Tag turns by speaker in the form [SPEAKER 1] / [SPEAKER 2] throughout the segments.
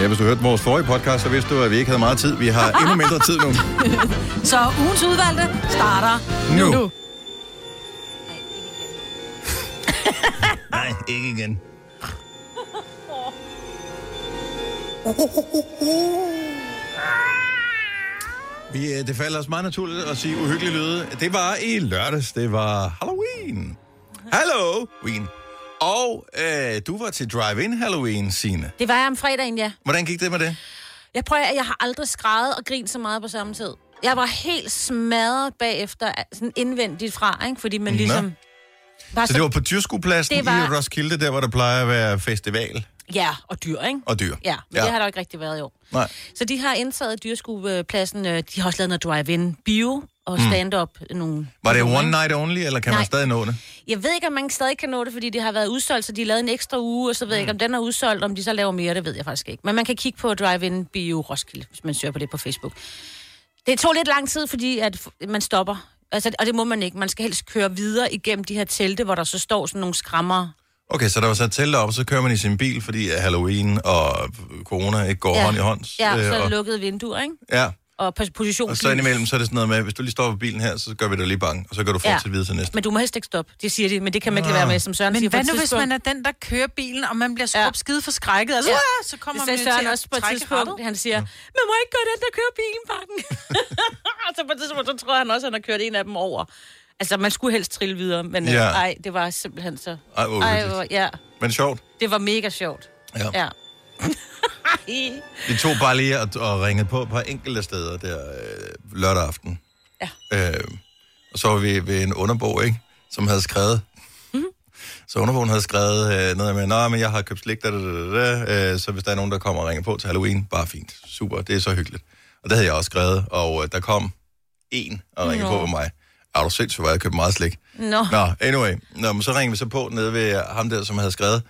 [SPEAKER 1] Ja, hvis du hørte vores forrige podcast, så vidste du, at vi ikke havde meget tid. Vi har endnu mindre tid nu.
[SPEAKER 2] Så ugens udvalgte starter nu.
[SPEAKER 1] Nu.
[SPEAKER 2] nu.
[SPEAKER 1] Nej, ikke igen. Vi, øh, det falder os meget naturligt at sige uhyggelige lyde. Det var i lørdags. Det var Halloween. Halloween. Og øh, du var til Drive-In Halloween, Signe.
[SPEAKER 2] Det var jeg om fredagen, ja.
[SPEAKER 1] Hvordan gik det Altså, med det?
[SPEAKER 2] Jeg prøver, at jeg har aldrig skrevet og grint så meget på samme tid. Jeg var helt smadret bagefter, sådan indvendigt fra, ikke? fordi man
[SPEAKER 1] Nå.
[SPEAKER 2] ligesom... Var
[SPEAKER 1] Så det var på Tyrskuepladsen
[SPEAKER 2] Altså, Det var-
[SPEAKER 1] i Roskilde, der hvor der plejer at være festival
[SPEAKER 2] Ja, og dyr, ikke?
[SPEAKER 1] og dyr.
[SPEAKER 2] Ja, men ja. det har der jo ikke rigtig været i år.
[SPEAKER 1] Nej.
[SPEAKER 2] Så de har indtaget dyreskuepladsen. øh, De har også lavet noget drive-in bio og stand-up. Mm. Nogle,
[SPEAKER 1] Var det
[SPEAKER 2] nogle,
[SPEAKER 1] one
[SPEAKER 2] ikke?
[SPEAKER 1] night only, eller kan Nej. man
[SPEAKER 2] Nej.
[SPEAKER 1] stadig nå det?
[SPEAKER 2] Jeg ved ikke, om man stadig kan nå det, fordi det har været udsolgt, så de har lavet en ekstra uge, og så ved jeg ikke,
[SPEAKER 1] Mm.
[SPEAKER 2] om den er udsolgt, om de så laver mere, det ved jeg faktisk ikke. Men man kan kigge på Drive-In Bio Roskilde, hvis man søger på det på Facebook. Det tog lidt lang tid, fordi at f- man stopper. Altså, og det må man ikke. Man skal helst køre videre igennem de her telte, hvor der så står sådan nogle skrammer.
[SPEAKER 1] Okay, så der var sat telt op, så kører man i sin bil, fordi at Halloween og corona ikke går ja. hånd i hånd.
[SPEAKER 2] ja,
[SPEAKER 1] Øh,
[SPEAKER 2] så er
[SPEAKER 1] og,
[SPEAKER 2] der lukkede vinduer, ikke?
[SPEAKER 1] ja,
[SPEAKER 2] Og pos-
[SPEAKER 1] og så
[SPEAKER 2] positionslys.
[SPEAKER 1] indimellem, så er det sådan noget med, hvis du lige stopper bilen her, så gør vi dig lige bange, og så kan du fortsætte ja.
[SPEAKER 2] Ja.
[SPEAKER 1] videre til næste.
[SPEAKER 2] Men du må helst ikke stoppe, det siger de, men det kan man ikke lade være med, som Søren
[SPEAKER 3] Men
[SPEAKER 2] siger. på
[SPEAKER 3] hvad
[SPEAKER 2] et
[SPEAKER 3] nu, hvis
[SPEAKER 2] tidspunkt-
[SPEAKER 3] man er den, der kører bilen, og man bliver
[SPEAKER 2] Ja.
[SPEAKER 3] skub skide forskrækket, altså,
[SPEAKER 2] Ja.
[SPEAKER 3] ja. så kommer
[SPEAKER 2] Det
[SPEAKER 3] man
[SPEAKER 2] sagde
[SPEAKER 3] jo
[SPEAKER 2] Søren
[SPEAKER 3] til
[SPEAKER 2] også på
[SPEAKER 3] at
[SPEAKER 2] et
[SPEAKER 3] trække
[SPEAKER 2] tidspunkt.
[SPEAKER 3] rattet.
[SPEAKER 2] Han siger, man må ikke gøre den, der kører bilen, banken. og så på et tidspunkt, så tror han også, at han har kørt en af dem over. Altså, man skulle helst trille videre, men
[SPEAKER 1] Ja.
[SPEAKER 2] ja. ej, det var simpelthen så...
[SPEAKER 1] Ej, hvor
[SPEAKER 2] Ej,
[SPEAKER 1] uhyggeligt.
[SPEAKER 2] hvor, ja,
[SPEAKER 1] Men sjovt.
[SPEAKER 2] det var mega sjovt.
[SPEAKER 1] Ja. ja.
[SPEAKER 2] Ja. Ej.
[SPEAKER 1] Vi tog bare lige og, og ringede på på enkelte steder der øh, lørdag aften.
[SPEAKER 2] Ja.
[SPEAKER 1] Øh, og så var vi ved en underbog, ikke? Som havde skrevet...
[SPEAKER 2] Mhm.
[SPEAKER 1] Så underbogen havde skrevet øh, noget med, nej, men jeg har købt slik, da, da, da, da, øh, så hvis der er nogen, der kommer og ringer på til Halloween, bare fint. Super, det er så hyggeligt. Og det havde jeg også skrevet, og øh, der kom en og ringede
[SPEAKER 2] Nå. Mm.
[SPEAKER 1] på på mig. Er du sindssygt, hvor jeg købte meget slik?
[SPEAKER 2] Nå,
[SPEAKER 1] Nå, anyway. Nå, men så ringer vi så på nede ved ham der, som havde skrevet.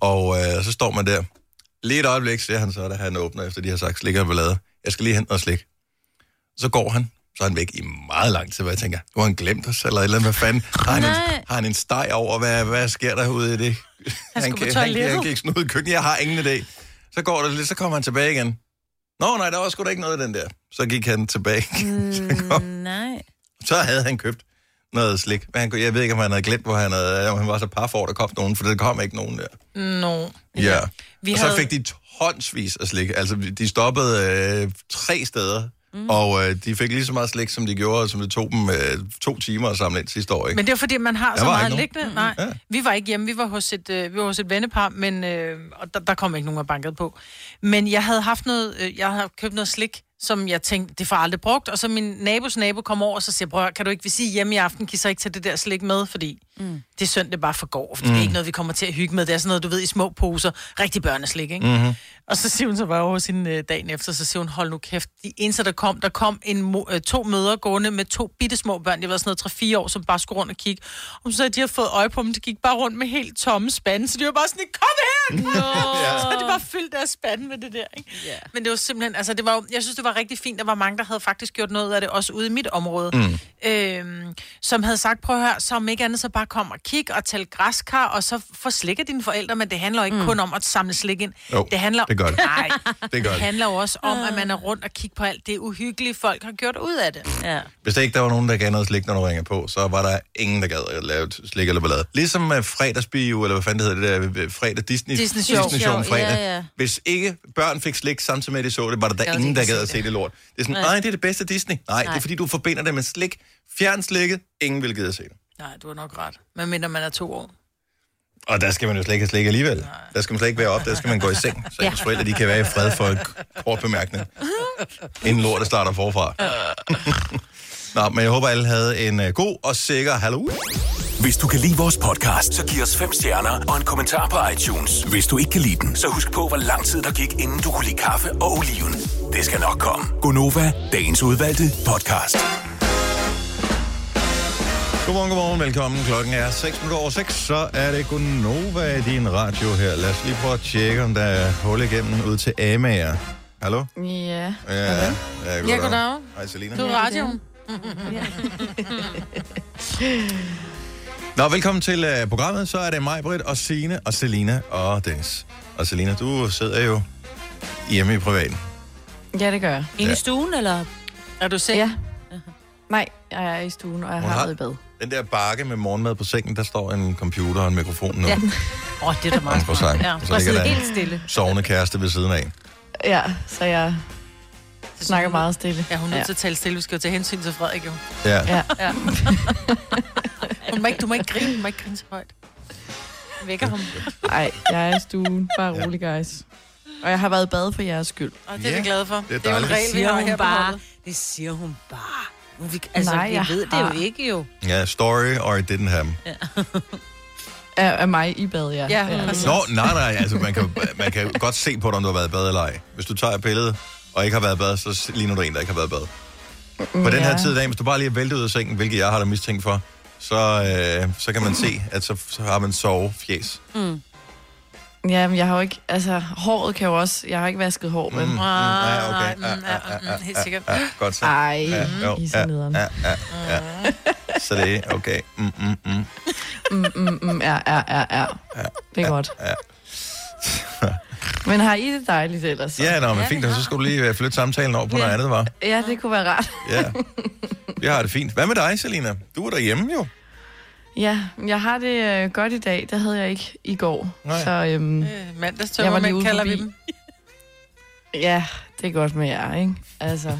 [SPEAKER 1] Og øh, så står man der. Lige et øjeblik ser han så, da han åbner, efter de har sagt slik og ballade. Jeg skal lige hente noget slik. Så går han. Så er han væk i meget lang tid, hvor jeg tænker, nu har han glemt os, eller et eller andet, hvad fanden? Har han, en,
[SPEAKER 2] Nej.
[SPEAKER 1] har han en steg over, hvad, hvad sker der ude i det? Han, kan,
[SPEAKER 3] skulle på
[SPEAKER 1] han, kan, han
[SPEAKER 3] toilettet.
[SPEAKER 1] kan ikke snude i køkkenet, jeg har ingen idé. Så går det lidt, så kommer han tilbage igen. Nå nej, der var sgu da ikke noget i den der. Så gik han tilbage. så kom
[SPEAKER 2] nej.
[SPEAKER 1] så havde han købt noget slik. Men han, kunne- jeg ved ikke, om han havde glemt, hvor han, havde, om han var så par for, at der kom nogen, for der kom ikke nogen der.
[SPEAKER 3] Nå.
[SPEAKER 1] Ja.
[SPEAKER 3] Vi
[SPEAKER 1] og så
[SPEAKER 3] havde-
[SPEAKER 1] fik de tonsvis af slik. Altså, de stoppede øh, tre steder, mm. og øh, de fik lige så meget slik, som de gjorde, som det tog dem øh, to timer at samle ind sidste år. Ikke?
[SPEAKER 3] Men det er fordi, man har så
[SPEAKER 1] var
[SPEAKER 3] meget
[SPEAKER 1] ikke
[SPEAKER 3] liggende. Nej,
[SPEAKER 1] Ja.
[SPEAKER 3] vi var ikke hjemme. Vi var hos et, øh, vi var hos et vennepar, men øh, og der, der kom ikke nogen og bankede på. Men jeg havde haft noget, øh, jeg havde købt noget slik, som jeg tænkte, det får jeg aldrig brugt. Og så min nabos nabo kom over og så siger, jeg, prøv at høre, kan du ikke vi sige hjemme i aften, kan I så ikke tage det der slik med, fordi mm. det er synd, det bare for går, for mm. det er ikke noget, vi kommer til at hygge med. Det er sådan noget, du ved, i små poser, rigtig børneslik, ikke? Mm-hmm. Og så siger hun så bare over sin øh, dagen efter, så siger hun, hold nu kæft, de eneste, der kom, der kom en mo- øh, to mødre gående med to bitte små børn, de var sådan noget 3-4 år, som bare skulle rundt og kigge. Og hun sagde, at de har fået øje på dem, de gik bare rundt med helt tomme spande, så de var bare sådan, kom
[SPEAKER 2] Nå.
[SPEAKER 3] her! Så det var fyldt deres spande med det der, ikke?
[SPEAKER 2] Ja.
[SPEAKER 3] Men det var simpelthen, altså det var jo, jeg synes, det var rigtig fint, der var mange, der havde faktisk gjort noget af det, også ude i mit område, mm. øhm, som havde sagt, prøv at høre, så om ikke andet, så bare kom og kig og tæl græskar, og så få slik af dine forældre, men det handler jo ikke mm. kun om at samle slik ind.
[SPEAKER 1] Jo,
[SPEAKER 3] det handler,
[SPEAKER 1] det gør det.
[SPEAKER 3] Nej,
[SPEAKER 1] det gør
[SPEAKER 3] det
[SPEAKER 1] det.
[SPEAKER 3] handler jo også om, at man er rundt og kigger på alt det uhyggelige, folk har gjort ud af det.
[SPEAKER 2] Ja.
[SPEAKER 1] Hvis der ikke der var nogen, der gav noget slik, når du ringer på, så var der ingen, der gad at lave slik eller ballade. Ligesom med fredagsbio, eller hvad fanden det hedder det der, øh, fredag Disney,
[SPEAKER 3] Disney Sjov.
[SPEAKER 1] Disney Show,
[SPEAKER 2] Sjov, ja,
[SPEAKER 1] fredag.
[SPEAKER 2] ja.
[SPEAKER 1] Hvis ikke børn fik slik samtidig med, at de så det, var der, der
[SPEAKER 3] Gad de
[SPEAKER 1] ingen, der
[SPEAKER 3] ikke
[SPEAKER 1] gad
[SPEAKER 3] se
[SPEAKER 1] at se
[SPEAKER 3] det.
[SPEAKER 1] det lort. Det er sådan, nej, det er det bedste Disney. Nej, nej, det er fordi, du forbinder det med slik. Fjern slikket, ingen vil gide at se det.
[SPEAKER 3] Nej, du har nok ret. Men mindre man er to år.
[SPEAKER 1] Og der skal man jo slet ikke have slik alligevel. Der skal man slet ikke være op, der skal man gå i seng. Så ens forældre, de kan være i fred for en k- kort bemærkning. Inden lortet starter forfra. Nå, men jeg håber, alle havde en øh, god og sikker Halloween.
[SPEAKER 4] Hvis du kan lide vores podcast, så giv os fem stjerner og en kommentar på iTunes. Hvis du ikke kan lide den, så husk på, hvor lang tid der gik, inden du kunne lide kaffe og oliven. Det skal nok komme. Gonova, dagens udvalgte podcast.
[SPEAKER 1] Godmorgen, godmorgen, velkommen. Klokken er 6 minutter over 6, så er det Gunova i din radio her. Lad os lige prøve at tjekke, om der er hul igennem ud til Amager. Hallo?
[SPEAKER 5] Ja.
[SPEAKER 1] Ja, ja, goddag.
[SPEAKER 3] Ja, goddag.
[SPEAKER 1] Hej, Selina.
[SPEAKER 3] Du er radioen.
[SPEAKER 1] Nå, velkommen til uh, programmet. Så er det mig, Britt, og Sine og Selina og Dennis. Og Selina, du sidder jo hjemme i privaten.
[SPEAKER 5] Ja, det gør jeg.
[SPEAKER 2] Inde
[SPEAKER 1] Ja.
[SPEAKER 2] i stuen, eller?
[SPEAKER 3] Er du sikker?
[SPEAKER 5] Ja. Nej, jeg er i stuen, og jeg
[SPEAKER 1] Hun
[SPEAKER 5] har
[SPEAKER 1] har-
[SPEAKER 5] været i bad.
[SPEAKER 1] Den der bakke med morgenmad på sengen, der står en computer og en mikrofon nu. Ja.
[SPEAKER 2] Ja.
[SPEAKER 3] Åh, oh, det er da meget.
[SPEAKER 1] På sang.
[SPEAKER 3] Ja,
[SPEAKER 1] Ja. Så
[SPEAKER 3] bare
[SPEAKER 1] ligger
[SPEAKER 3] sidde
[SPEAKER 1] der
[SPEAKER 3] helt
[SPEAKER 1] en
[SPEAKER 3] stille.
[SPEAKER 1] sovende kæreste ved siden af.
[SPEAKER 5] Ja, så jeg snakker meget stille.
[SPEAKER 3] Ja, hun er nødt til at tale stille. Vi skal jo tage hensyn til Frederik, jo.
[SPEAKER 1] Ja.
[SPEAKER 5] Ja.
[SPEAKER 3] Ja. hun må ikke, du må ikke grine. Du må ikke grine så højt. Jeg vækker ham.
[SPEAKER 5] Nej, jeg er i stuen. Bare
[SPEAKER 1] Ja.
[SPEAKER 5] rolig, guys. Og jeg har været i bad for jeres skyld.
[SPEAKER 3] Og det er
[SPEAKER 1] Ja,
[SPEAKER 3] vi glade for.
[SPEAKER 1] det er
[SPEAKER 3] jo en
[SPEAKER 1] dejligt.
[SPEAKER 3] regel, vi har her på holdet.
[SPEAKER 2] Det siger hun bare. Hun fik, altså,
[SPEAKER 5] Nej,
[SPEAKER 2] Nej,
[SPEAKER 5] jeg
[SPEAKER 2] jeg ved det jo
[SPEAKER 5] har-
[SPEAKER 2] ikke jo.
[SPEAKER 1] Ja, story or it didn't happen.
[SPEAKER 5] Af, af mig i bad, ja.
[SPEAKER 3] Ja, præcis.
[SPEAKER 1] Nå, nej, nej, altså man kan, man kan godt se på dig, om du har været i bad eller ej. Hvis du tager et billede og ikke har været i bad, så ligner du en, der ikke har været i bad. På den her
[SPEAKER 5] Mm, Ja.
[SPEAKER 1] tid af dagen, hvis du bare lige er væltet ud af sengen, hvilket jeg har dig mistænkt for, så, øh, så kan man se, at så, så har man sovefjæs.
[SPEAKER 2] Mm.
[SPEAKER 5] Ja, men jeg har jo ikke... Altså, håret kan jo også... Jeg har ikke vasket hår, men...
[SPEAKER 1] Mm,
[SPEAKER 5] Mm.
[SPEAKER 1] ja, okay.
[SPEAKER 3] Mm, ja,
[SPEAKER 1] Ja, ja,
[SPEAKER 3] mm,
[SPEAKER 1] ja,
[SPEAKER 3] helt
[SPEAKER 1] ja,
[SPEAKER 3] sikkert.
[SPEAKER 1] ja, Godt så.
[SPEAKER 5] Ej, Mm,
[SPEAKER 1] Ja, jo,
[SPEAKER 5] I er så
[SPEAKER 1] ja,
[SPEAKER 5] nederen.
[SPEAKER 1] ja, ja, ja. Så det er okay. Mm, mm, mm.
[SPEAKER 5] Mm, mm, ja, ja, ja, ja. Det er godt.
[SPEAKER 1] ja.
[SPEAKER 5] Men har I det dejligt ellers?
[SPEAKER 1] Ja, nå, men fint, og så skulle du lige øh, flytte samtalen over på noget andet, var.
[SPEAKER 5] Ja, det kunne være rart.
[SPEAKER 1] Ja. Jeg har det fint. Hvad med dig, Selina? Du er derhjemme jo.
[SPEAKER 5] Ja, men jeg har det øh, godt i dag. Det havde jeg ikke i går.
[SPEAKER 1] Nej.
[SPEAKER 5] Så øhm,
[SPEAKER 3] Øh,
[SPEAKER 5] Jeg var lige
[SPEAKER 3] Mandagstømmermænd
[SPEAKER 5] ude
[SPEAKER 3] kalder vi
[SPEAKER 5] forbi.
[SPEAKER 3] dem.
[SPEAKER 5] ja, det er godt med jer, ikke? Altså,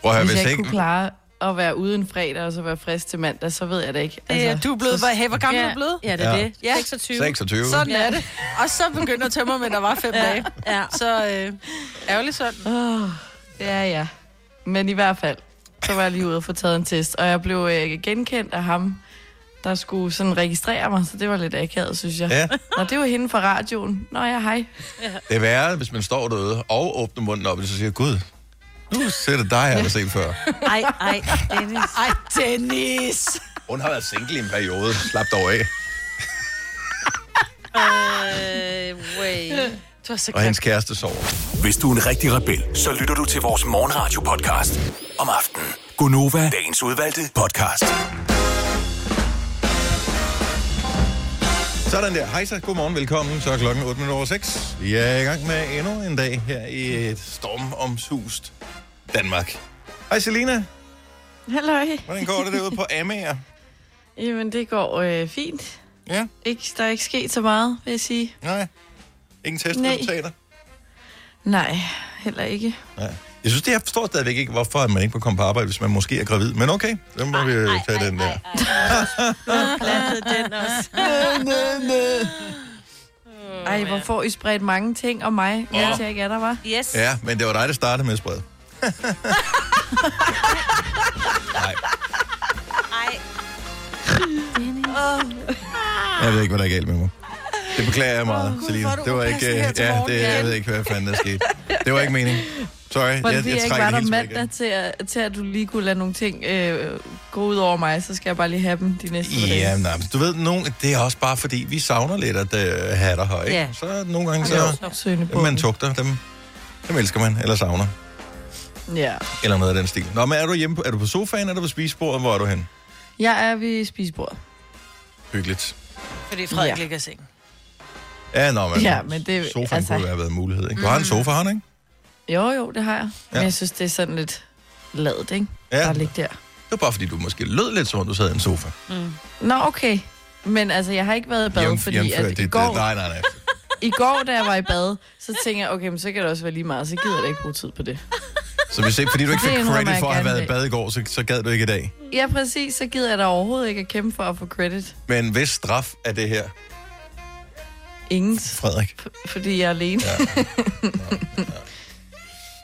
[SPEAKER 1] Prøv at høre,
[SPEAKER 5] hvis
[SPEAKER 1] hvis
[SPEAKER 5] jeg ikke
[SPEAKER 1] ikke...
[SPEAKER 5] kunne klare at være ude en fredag og så være frisk til mandag, så ved jeg det ikke. Altså,
[SPEAKER 3] Det er, Altså, du er blevet,
[SPEAKER 5] så-
[SPEAKER 3] hvor, hey, hvor gammel er du blevet?
[SPEAKER 2] Ja, det er
[SPEAKER 1] Ja.
[SPEAKER 2] det.
[SPEAKER 3] Ja.
[SPEAKER 2] 26.
[SPEAKER 1] 26.
[SPEAKER 3] Sådan er det. Og så begynder tømmermænd, der var fem dage.
[SPEAKER 2] Ja.
[SPEAKER 3] Så øh, ærgerligt sådan.
[SPEAKER 5] Åh, ja, ja. Men i hvert fald, så var jeg lige ude og få taget en test, og jeg blev øh, genkendt af ham, der skulle sådan registrere mig, så det var lidt akavet, synes jeg.
[SPEAKER 1] Ja,
[SPEAKER 5] Nå, det var hende fra radioen. Nå ja, hej.
[SPEAKER 1] det er værre, hvis man står derude og åbner munden op, og så siger, Gud, nu ser det dig, jeg har set før.
[SPEAKER 2] Ej, ej, Dennis.
[SPEAKER 3] Ej, Dennis!
[SPEAKER 1] Hun har været single i en periode. Slap dig af.
[SPEAKER 2] Øh, way.
[SPEAKER 3] Du er så
[SPEAKER 1] Og
[SPEAKER 3] grim.
[SPEAKER 1] hendes kæreste sover.
[SPEAKER 4] Hvis du er en rigtig rebel, så lytter du til vores morgenradio-podcast om aftenen. Gunova, dagens udvalgte podcast.
[SPEAKER 1] Sådan der. Hej så. Godmorgen. Velkommen. Så er klokken 8 minutter over 6. Vi er i gang med endnu en dag her i et stormomsust Danmark. Hej Selina.
[SPEAKER 5] Halløj.
[SPEAKER 1] Hvordan går det derude på Amager?
[SPEAKER 5] Jamen, det går øh, fint.
[SPEAKER 1] Ja?
[SPEAKER 5] Ikke, der er ikke sket så meget, vil jeg sige.
[SPEAKER 1] Nej? Ingen testresultater?
[SPEAKER 5] Nej, heller ikke.
[SPEAKER 1] Nej. Jeg synes, det jeg forstår stadigvæk ikke, hvorfor at man ikke må komme på arbejde, hvis man måske er gravid. Men okay, så må vi jo tage den der.
[SPEAKER 2] Plantede den også.
[SPEAKER 5] Ej, hvor får I spredt mange ting om mig, mens jeg ikke er der, var?
[SPEAKER 2] Yes. Ja.
[SPEAKER 1] Ja, men det var dig, der startede med at sprede. Nej,
[SPEAKER 2] Ej.
[SPEAKER 1] jeg ved ikke, hvad der er galt med mig. Det beklager jeg meget, oh, Selina. Det var ikke...
[SPEAKER 3] upassende her
[SPEAKER 1] øh,
[SPEAKER 3] til
[SPEAKER 1] Ja,
[SPEAKER 3] morgen.
[SPEAKER 1] det, jeg ved ikke, hvad fanden der skete. Det var ikke meningen. Sorry, jeg,
[SPEAKER 5] Fordi
[SPEAKER 1] jeg,
[SPEAKER 5] jeg, jeg ikke var
[SPEAKER 1] trækker
[SPEAKER 5] der
[SPEAKER 1] det hele tilbage
[SPEAKER 5] mandag til at, til, at du lige kunne lade nogle ting øh, gå ud over mig, så skal jeg bare lige have dem de næste par
[SPEAKER 1] igen. Ja,
[SPEAKER 5] dage.
[SPEAKER 1] nej, men altså, du ved, nogen, det er også bare fordi, vi savner lidt at øh, have dig her, ikke?
[SPEAKER 2] Ja.
[SPEAKER 1] Så nogle gange,
[SPEAKER 5] Ja,
[SPEAKER 1] så
[SPEAKER 5] opsøgende
[SPEAKER 1] dem, man
[SPEAKER 5] bånd.
[SPEAKER 1] tugter, dem, dem elsker man, eller savner,
[SPEAKER 5] Ja.
[SPEAKER 1] eller noget af den stil. Nå, men er du hjemme på, er du på sofaen, er du på spisebordet, hvor er du hen?
[SPEAKER 5] Jeg er ved spisebordet.
[SPEAKER 1] Hyggeligt.
[SPEAKER 3] Fordi Frederik
[SPEAKER 5] Ja.
[SPEAKER 3] ligger i sengen.
[SPEAKER 1] Ja, nå, men,
[SPEAKER 5] Ja, men det-
[SPEAKER 1] sofaen altså...
[SPEAKER 5] altså- Mm.
[SPEAKER 1] kunne jo have været en mulighed, ikke? Du har en sofa, har du, ikke?
[SPEAKER 5] Jo, jo, det har jeg. Ja.
[SPEAKER 1] Ja.
[SPEAKER 5] Men jeg synes, det er sådan lidt ladet, ikke?
[SPEAKER 1] Ja.
[SPEAKER 5] Bare ligge der.
[SPEAKER 1] Det var bare, fordi du måske lød lidt som om, du sad i en sofa.
[SPEAKER 5] Nå, okay. Men altså, jeg har ikke været i bad,
[SPEAKER 1] Jævn-
[SPEAKER 5] fordi
[SPEAKER 1] jævnfør
[SPEAKER 5] at i, går,
[SPEAKER 1] øh, nej, nej, nej.
[SPEAKER 5] i går, da jeg var i bad, så tænkte jeg, okay, men så kan det også være lige meget, så gider jeg da ikke bruge tid på det.
[SPEAKER 1] Så hvis ikke, fordi du ikke
[SPEAKER 5] Det
[SPEAKER 1] fik
[SPEAKER 5] indrømmer
[SPEAKER 1] credit
[SPEAKER 5] jeg
[SPEAKER 1] for at have
[SPEAKER 5] gerne
[SPEAKER 1] været i bad i går, så, så gad du ikke i dag.
[SPEAKER 5] Ja, præcis, så gider jeg da overhovedet ikke at kæmpe for at få credit.
[SPEAKER 1] Men hvis straf er det her,
[SPEAKER 5] Ingens,
[SPEAKER 1] Frederik?
[SPEAKER 5] f- fordi jeg er alene. Ja.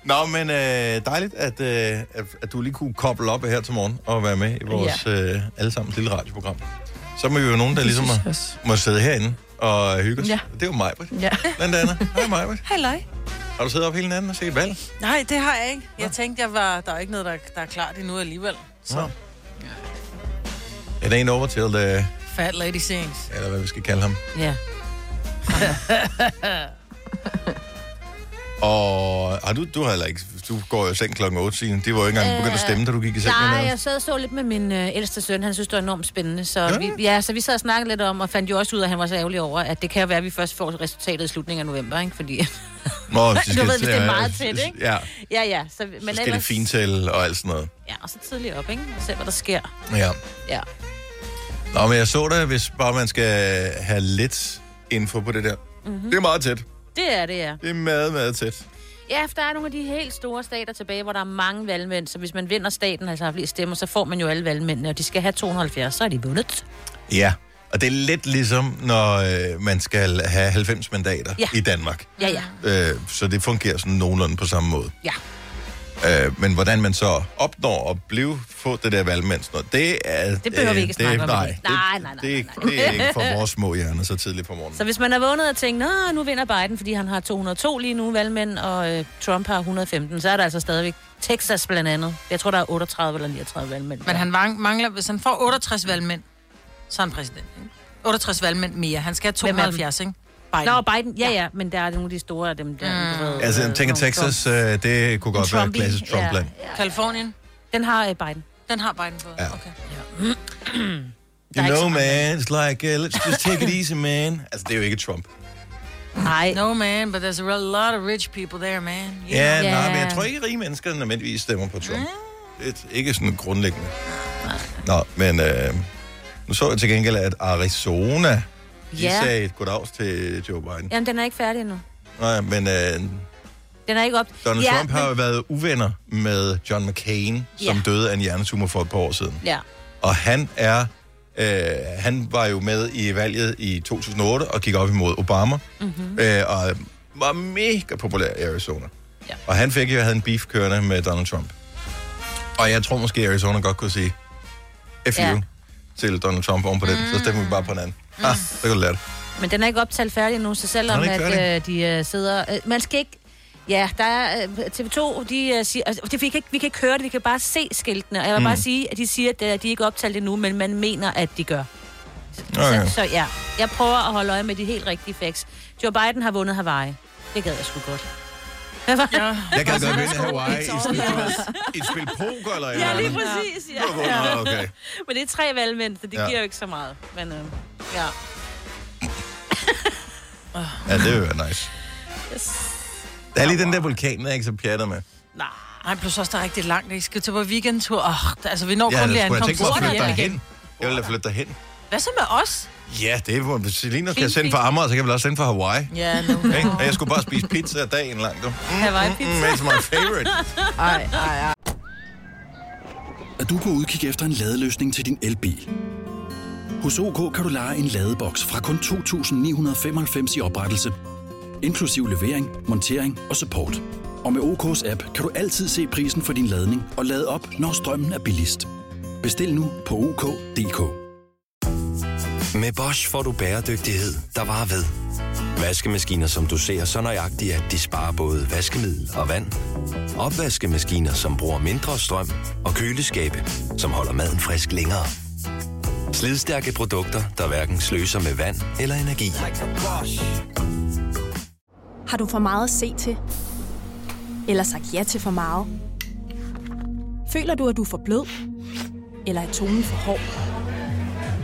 [SPEAKER 1] Nå, men øh, dejligt, at, øh, at, at du lige kunne koble op her til morgen og være med i vores øh, allesammens lille radioprogram. Så må vi jo nogen, der ligesom
[SPEAKER 5] synes jeg
[SPEAKER 1] må,
[SPEAKER 5] også.
[SPEAKER 1] må sidde herinde og hygge os. Ja.
[SPEAKER 5] Ja.
[SPEAKER 1] Det er jo mig, Britt.
[SPEAKER 5] ja.
[SPEAKER 1] Blandt andet. Hej, mig, Britt.
[SPEAKER 3] Halløj.
[SPEAKER 1] Har du siddet op hele natten og set valg?
[SPEAKER 3] Nej, det har jeg ikke. Jeg tænkte, jeg var, der er ikke noget, der, der er klart endnu alligevel. Så
[SPEAKER 1] Nå. It ain't over til, øh,
[SPEAKER 3] fat lady sings.
[SPEAKER 1] eller hvad vi skal kalde ham.
[SPEAKER 2] Ja.
[SPEAKER 1] Og har du, du har heller ikke, du går jo i seng klokken 8, Signe. Det var jo ikke engang begyndt at stemme, da du gik i seng.
[SPEAKER 2] Nej,
[SPEAKER 1] med
[SPEAKER 2] jeg sad og så lidt med min øh, ældste søn. Han synes, det var enormt spændende. Så, ja. Vi, ja, så vi sad og snakkede lidt om, og fandt jo også ud af, at han var så ærgerlig over, at det kan jo være, at vi først får resultatet i slutningen af november, ikke? Fordi
[SPEAKER 1] Nå, de
[SPEAKER 2] Du ved,
[SPEAKER 1] til
[SPEAKER 2] hvis det er
[SPEAKER 1] at-
[SPEAKER 2] meget tæt, ikke?
[SPEAKER 1] Ja,
[SPEAKER 2] Ja, ja. Så, men
[SPEAKER 1] så skal de fintælle og alt sådan noget.
[SPEAKER 2] Ja, og så tidligt op, ikke? Og se, hvad der sker.
[SPEAKER 1] Ja.
[SPEAKER 2] Ja.
[SPEAKER 1] Nå, men jeg så det, hvis bare man skal have lidt info på det der.
[SPEAKER 2] Mhm.
[SPEAKER 1] Mm-hmm. Det er meget tæt.
[SPEAKER 2] Det er det, ja.
[SPEAKER 1] Det er meget, meget tæt.
[SPEAKER 2] Ja, for der er nogle af de helt store stater tilbage, hvor der er mange valgmænd. Så hvis man vinder staten, altså har flere stemmer, så får man jo alle valgmændene, og de skal have 270, så er de vundet.
[SPEAKER 1] Ja, og det er lidt ligesom, når øh, man skal have 90 mandater
[SPEAKER 2] Ja.
[SPEAKER 1] i Danmark.
[SPEAKER 2] Ja, ja.
[SPEAKER 1] Øh, så det fungerer sådan nogenlunde på samme måde.
[SPEAKER 2] Ja.
[SPEAKER 1] Øh, men hvordan man så opnår at blive, få det der valgmændsner, det er... øh,
[SPEAKER 2] Det behøver vi ikke snakke om i
[SPEAKER 1] Nej,
[SPEAKER 2] dag. Nej, nej, nej,
[SPEAKER 1] Det, er ikke-
[SPEAKER 2] nej,
[SPEAKER 1] det er ikke for vores små hjerner så tidligt på morgenen.
[SPEAKER 2] Så hvis man er vågnet og tænkt, Nå, nu vinder Biden, fordi han har 202 lige nu valgmænd, og øh, Trump har 115, så er der altså stadigvæk Texas blandt andet. Jeg tror, der er 38 eller 39 valgmænd.
[SPEAKER 3] Men han vang- mangler, hvis han får 68 valgmænd, så er han præsident. Ikke? 68 valgmænd mere. Han skal have
[SPEAKER 2] Hvem er dem?
[SPEAKER 3] 72, ikke? Biden.
[SPEAKER 2] Nå, Biden, ja, ja, men der er nogle af de store af dem der. Mm. Ved,
[SPEAKER 1] Altså, jeg
[SPEAKER 2] øh,
[SPEAKER 1] tænker,
[SPEAKER 2] nogle-
[SPEAKER 1] Texas, øh, det kunne godt være et
[SPEAKER 2] Trumpy,
[SPEAKER 1] klassisk
[SPEAKER 2] ja.
[SPEAKER 1] Trump-land.
[SPEAKER 3] Kalifornien,
[SPEAKER 2] Den har øh, Biden.
[SPEAKER 3] den har Biden fået.
[SPEAKER 1] Ja.
[SPEAKER 3] Okay.
[SPEAKER 2] er
[SPEAKER 1] You
[SPEAKER 2] ikke
[SPEAKER 1] know,
[SPEAKER 2] så
[SPEAKER 1] man, it's like, uh, let's just take it easy, man. Altså, det er jo ikke Trump.
[SPEAKER 2] Nej, no.
[SPEAKER 3] No, man, but there's a real lot of rich people there, man.
[SPEAKER 1] Ja,
[SPEAKER 3] You
[SPEAKER 1] yeah,
[SPEAKER 2] Ja. Mm.
[SPEAKER 1] nej, men jeg tror ikke, rige mennesker nødvendigvis stemmer på Trump. Det er ikke sådan grundlæggende. Nå, men øh, nu så jeg til gengæld, at Arizona, de
[SPEAKER 2] Ja.
[SPEAKER 1] sagde et goddags til Joe Biden.
[SPEAKER 2] jamen den er ikke færdig endnu.
[SPEAKER 1] Nej, men øh,
[SPEAKER 2] Den er ikke op.
[SPEAKER 1] Donald ja, Trump
[SPEAKER 2] men-
[SPEAKER 1] har jo været uvenner med John McCain, som
[SPEAKER 2] Ja.
[SPEAKER 1] døde af en hjernetumor for et par år siden.
[SPEAKER 2] Ja,
[SPEAKER 1] Og han er... Øh, han var jo med i valget i 2008 og gik op imod Obama.
[SPEAKER 2] Mhm.
[SPEAKER 1] Mm-hmm. Øh, og var mega populær i Arizona.
[SPEAKER 2] Ja.
[SPEAKER 1] Og han fik jo havde en beef kørende med Donald Trump. Og jeg tror måske, at Arizona godt kunne sige F
[SPEAKER 2] Ja.
[SPEAKER 1] you til Donald Trump oven på den. Så stemmer vi bare på en anden. Mm. Ah, så kan du lære det.
[SPEAKER 2] men den er ikke optalt færdig endnu, så selvom
[SPEAKER 1] Nå, den er
[SPEAKER 2] at,
[SPEAKER 1] ikke
[SPEAKER 2] øh, de øh, sidder... Øh, man skal ikke... Ja, der er, øh, TV2, de øh, siger, altså, det, vi, kan ikke, vi kan ikke høre det, vi kan bare se skiltene. Og jeg vil mm. bare sige, at de siger, at øh, de ikke er optalt endnu, men man mener, at de gør.
[SPEAKER 1] Okay.
[SPEAKER 2] Så, så ja, jeg prøver at holde øje med de helt rigtige facts. Joe Biden har vundet Hawaii. Det gad jeg sgu godt.
[SPEAKER 1] Jeg kan godt vinde Hawaii i sådan et, et spil poker eller et eller andet.
[SPEAKER 2] præcis, ja.
[SPEAKER 1] Nå, Okay.
[SPEAKER 2] Men det er tre valgmænd, så det
[SPEAKER 1] Ja.
[SPEAKER 2] ja. giver jo ikke så meget. Men øh, ja.
[SPEAKER 1] Ja, det vil være nice. Der er lige den der vulkan, der er ikke så pjatter med.
[SPEAKER 3] Nej, plus også, der er rigtig langt. I skal til på weekendtur. Oh, altså, vi når
[SPEAKER 1] Ja,
[SPEAKER 3] kun
[SPEAKER 1] skulle
[SPEAKER 3] lige
[SPEAKER 1] jeg
[SPEAKER 3] ankomst.
[SPEAKER 1] tænke mig at
[SPEAKER 3] Hurtigt
[SPEAKER 1] flytte dig
[SPEAKER 3] hjem igen.
[SPEAKER 1] hen. Jeg vil da flytte dig hen.
[SPEAKER 3] Hvad så med os?
[SPEAKER 1] Ja, det er, hvor- hvis Selina skal
[SPEAKER 2] Fint,
[SPEAKER 1] sende fra Amager, så kan jeg vel også sende fra Hawaii.
[SPEAKER 3] Ja, nu.
[SPEAKER 1] Ikke? Og jeg skulle bare spise pizza dagen lang. Du. Mm,
[SPEAKER 2] Hawaii-pizza.
[SPEAKER 1] mm, it's my favorite.
[SPEAKER 5] Ej, ej, ej.
[SPEAKER 4] Er du på udkig efter en ladeløsning til din elbil? Hos OK kan du lege en ladeboks fra kun 2.995 i oprettelse, inklusiv levering, montering og support. Og med OK's app kan du altid se prisen for din ladning og lade op, når strømmen er billigst. Bestil nu på OK.dk.
[SPEAKER 6] Med Bosch får du bæredygtighed, der varer ved. Vaskemaskiner, som du ser så nøjagtigt, at de sparer både vaskemiddel og vand. Opvaskemaskiner, som bruger mindre strøm. Og køleskabe, som holder maden frisk længere. Slidstærke produkter, der hverken sløser med vand eller energi.
[SPEAKER 7] Har du for meget at se til? Eller sagt ja til for meget? Føler du, at du er for blød? Eller er tonen for hård?